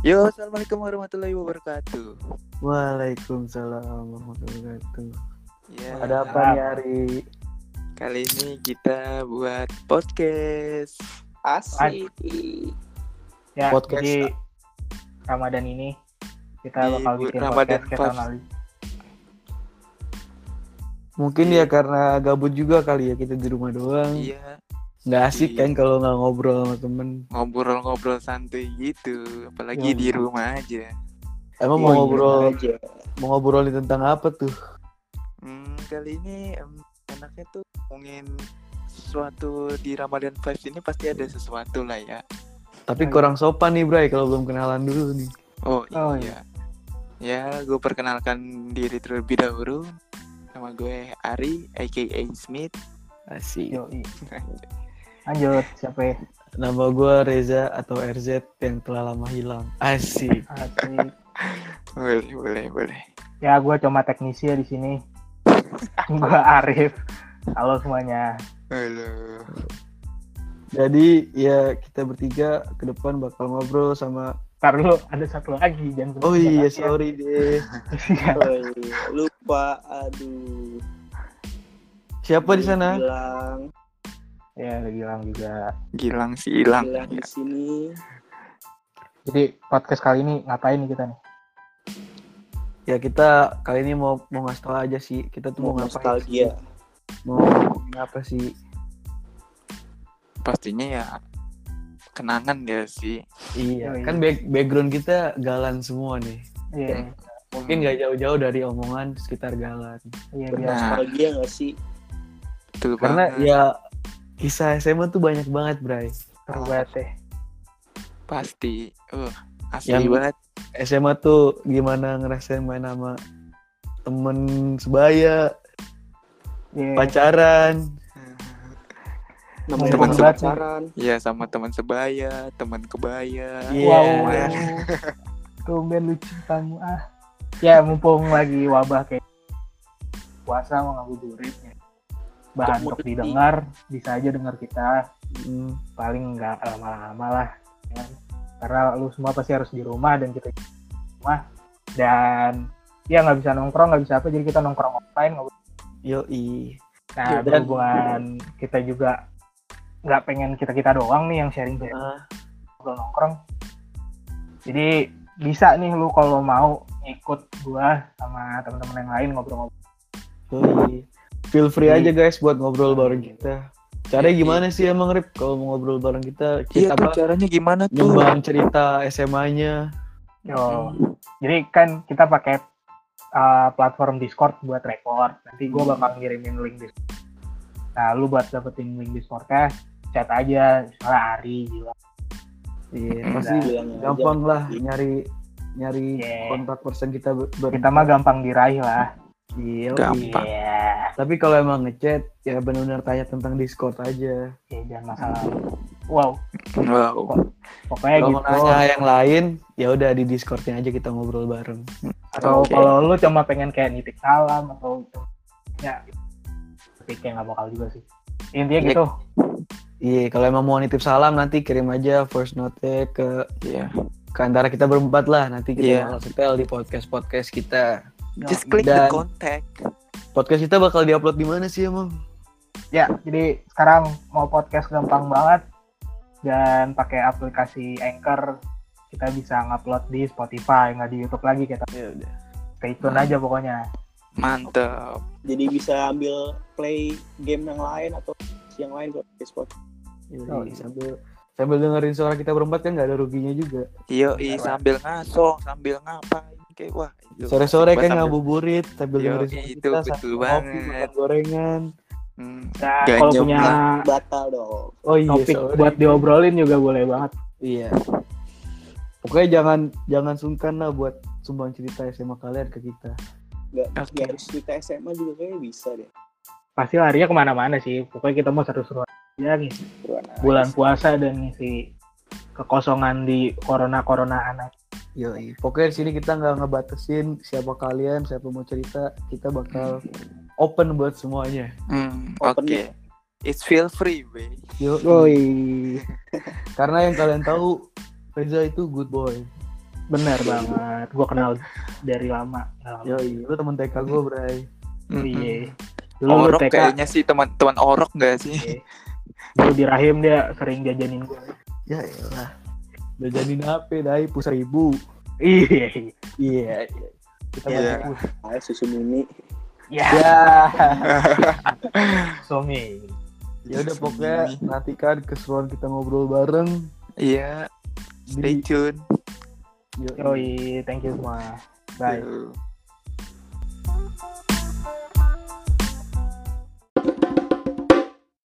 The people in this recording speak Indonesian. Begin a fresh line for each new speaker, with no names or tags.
Yo, assalamualaikum warahmatullahi wabarakatuh.
Waalaikumsalam warahmatullahi wabarakatuh.
Ya,
Ada apa nih hari?
Kali ini kita buat podcast.
Asik.
Ya,
Podcast.
jadi Ramadan ini kita
Di
bakal bikin
Ramadan
podcast kayak tahun
Puff.
lalu.
Mungkin ya karena gabut juga kali ya kita di rumah doang.
Iya,
Nggak asik
Iya.
kan kalau nggak ngobrol sama temen.
ngobrol-ngobrol santuy gitu, apalagi
Yo.
di rumah aja.
Emang
Iya,
mau
iya,
ngobrol
aja.
mau ngobrolin tentang apa tuh?
Hmm, kali ini em, enaknya tuh ngomongin sesuatu di Ramadan Vibes ini pasti ada sesuatu lah ya.
Tapi
Ayo.
kurang sopan nih Bray kalau belum kenalan dulu nih.
Oh,
Oh,
iya. Ya, gue perkenalkan diri terlebih dahulu. Nama gue Ari, aka Smith.
Asik.
Yoi. Lanjut, siapa ya?
Nama gua Reza atau RZ yang telah lama hilang. Asik.
Asik.
Boleh, boleh, boleh.
Ya, gue cuma teknisi ya di sini. gue Arif. Halo semuanya.
Halo.
Jadi ya kita bertiga ke depan bakal ngobrol sama
Ntar dulu, ada satu lagi. Jangan
Oh
sebut-sebut
iya,
lagi ya.
sorry deh.
Iya.
Woi, lupa aduh.
Siapa
Iya,
di sana?
Bilang,
ya, udah bilang juga.
Gilang Ya, si Ilang.
bilang di sini.
Jadi, podcast kali ini ngapain nih kita nih?
Ya kita kali ini mau mau ngasih tau aja sih kita tuh mau, ngapain
Mau
sih.
nostalgia.
Mau ngomongin apa sih?
pastinya ya kenangan ya sih
Iya.
Yoi.
Kan back- background kita galan semua nih.
Iya,
Hmm.
Mungkin ya, nggak jauh-jauh dari omongan sekitar galan.
iya biar
Nah.
Nostalgia gak sih?
betul
Karena
banget
ya kisah SMA tuh banyak banget, Bray.
seru banget deh.
pasti uh, asli
Yang-
banget
SMA tuh gimana ngerasain main sama temen sebaya,
Iya.
pacaran,
Namanya
Teman
orang
sebat
sih.
pacaran.
ya sama teman sebaya teman kebaya
Iya.
Wow. Tumben lucu kamu ah. Ya mumpung lagi wabah kayak puasa mau ngabuburit ya. Bahan untuk
Ngabuburit.
didengar, bisa aja dengar kita
Hmm,
paling nggak lama-lama lah. ya. Karena lu semua pasti harus di rumah dan kita di rumah dan ya nggak bisa nongkrong nggak bisa apa jadi kita nongkrong offline ngobrol.
yoi.
nah
Iya, dan-
berhubungan kita juga nggak pengen kita kita doang nih yang sharing sharing
Ah,
ngobrol nongkrong. Jadi bisa nih lu kalau mau ikut gua sama teman-teman yang lain ngobrol-ngobrol.
yoi. Feel free aja
Jadi-
guys buat ngobrol bareng kita. Caranya gimana sih emang Rip kalau mau ngobrol bareng kita?
iya
Kita
tuh
apa?
caranya gimana tuh
Nyumbang cerita SMA-nya.
Yo. Jadi kan kita pakai uh, platform Discord buat record. Nanti
Mm-hmm.
gua bakal ngirimin link Discord. Nah, lu buat dapetin link Discordnya chat aja misalnya Ari gila.
Iya,
Hmm.
pasti
Bilang aja.
gampang lah nyari nyari
Iya.
kontak person kita ber- ber-
Kita mah gampang diraih lah.
Iya,
Gampang.
Iya.
Tapi kalau emang ngechat ya benar-benar tanya tentang Discord aja.
Iya, jangan masalah. Wow,
wow
pokoknya
kalau
gitu.
mau nanya yang lain, ya udah di Discordnya aja kita ngobrol bareng.
atau
Oke.
kalau lu cuma pengen kayak nitip salam atau ya tapi kayak nggak bakal juga sih intinya
Ya.
gitu
Iya, kalau emang mau nitip salam nanti kirim aja voice note ke
iya
ke antara kita berempat lah. Nanti kita
Iya.
bakal setel di podcast podcast kita.
just click the
Dan-
contact
Podcast kita bakal diupload di mana sih emang?
ya jadi sekarang mau podcast gampang banget dan pakai aplikasi anchor kita bisa ngupload di Spotify nggak di YouTube lagi kita
Ya udah.
stay tune aja pokoknya
mantap
Jadi bisa ambil play game yang lain atau yang lain buat Facebook.
Oh, iya.
sambil sambil dengerin suara kita berempat kan nggak ada ruginya juga.
yo
Iya, Pak.
sambil ngasong sambil ngapain kayak wah itu
Sore-sore
asik
kan
banget
ngabuburit sambil
Yo,
dengerin suara
itu
kita
betul
sambil
banget.
makan gorengan.
sambil- Hmm.
dan
Gak
Ya, kalau
nyoba.
punya
Batal dong.
Oh iya,
topik
sorry.
buat diobrolin juga boleh banget
Iya. Pokoknya jangan jangan sungkan lah buat sumbang cerita SMA kalian ke kita.
Gak,
Oke.
gak harus kita SMA juga kayaknya bisa deh.
pasti larinya kemana-mana sih pokoknya kita mau seru-seruan aja nih
Buruan aja.
Iya
bulan puasa dan ngisi kekosongan di corona coronaan
Yo, pokoknya di sini kita nggak ngebatasin siapa kalian, siapa mau cerita, kita bakal open buat semuanya.
Hmm, oke
Open ya.
it's feel free baby
Yo, karena yang kalian tahu Reza itu good boy.
Bener banget. Gue kenal dari lama.
Yo, lu temen TK gue, Bray.
Hmm,
Iya. Lu
Orok
TK,
kayaknya sih teman-teman orok gak sih?
iya. Lu di rahim dia sering jajanin gue.
Ya elah. Udah jadi nape, Dai? Pusar ibu.
Iya. iya.
Iya, iya.
Kita
Iya.
masih-
Ayo susu mini.
Ya.
Ya.
Somi.
Ya udah pokoknya nantikan keseruan kita ngobrol bareng.
Iya, stay
Di-
tune.
Yoi.
Yoi, thank you semua. Bye.
Yo.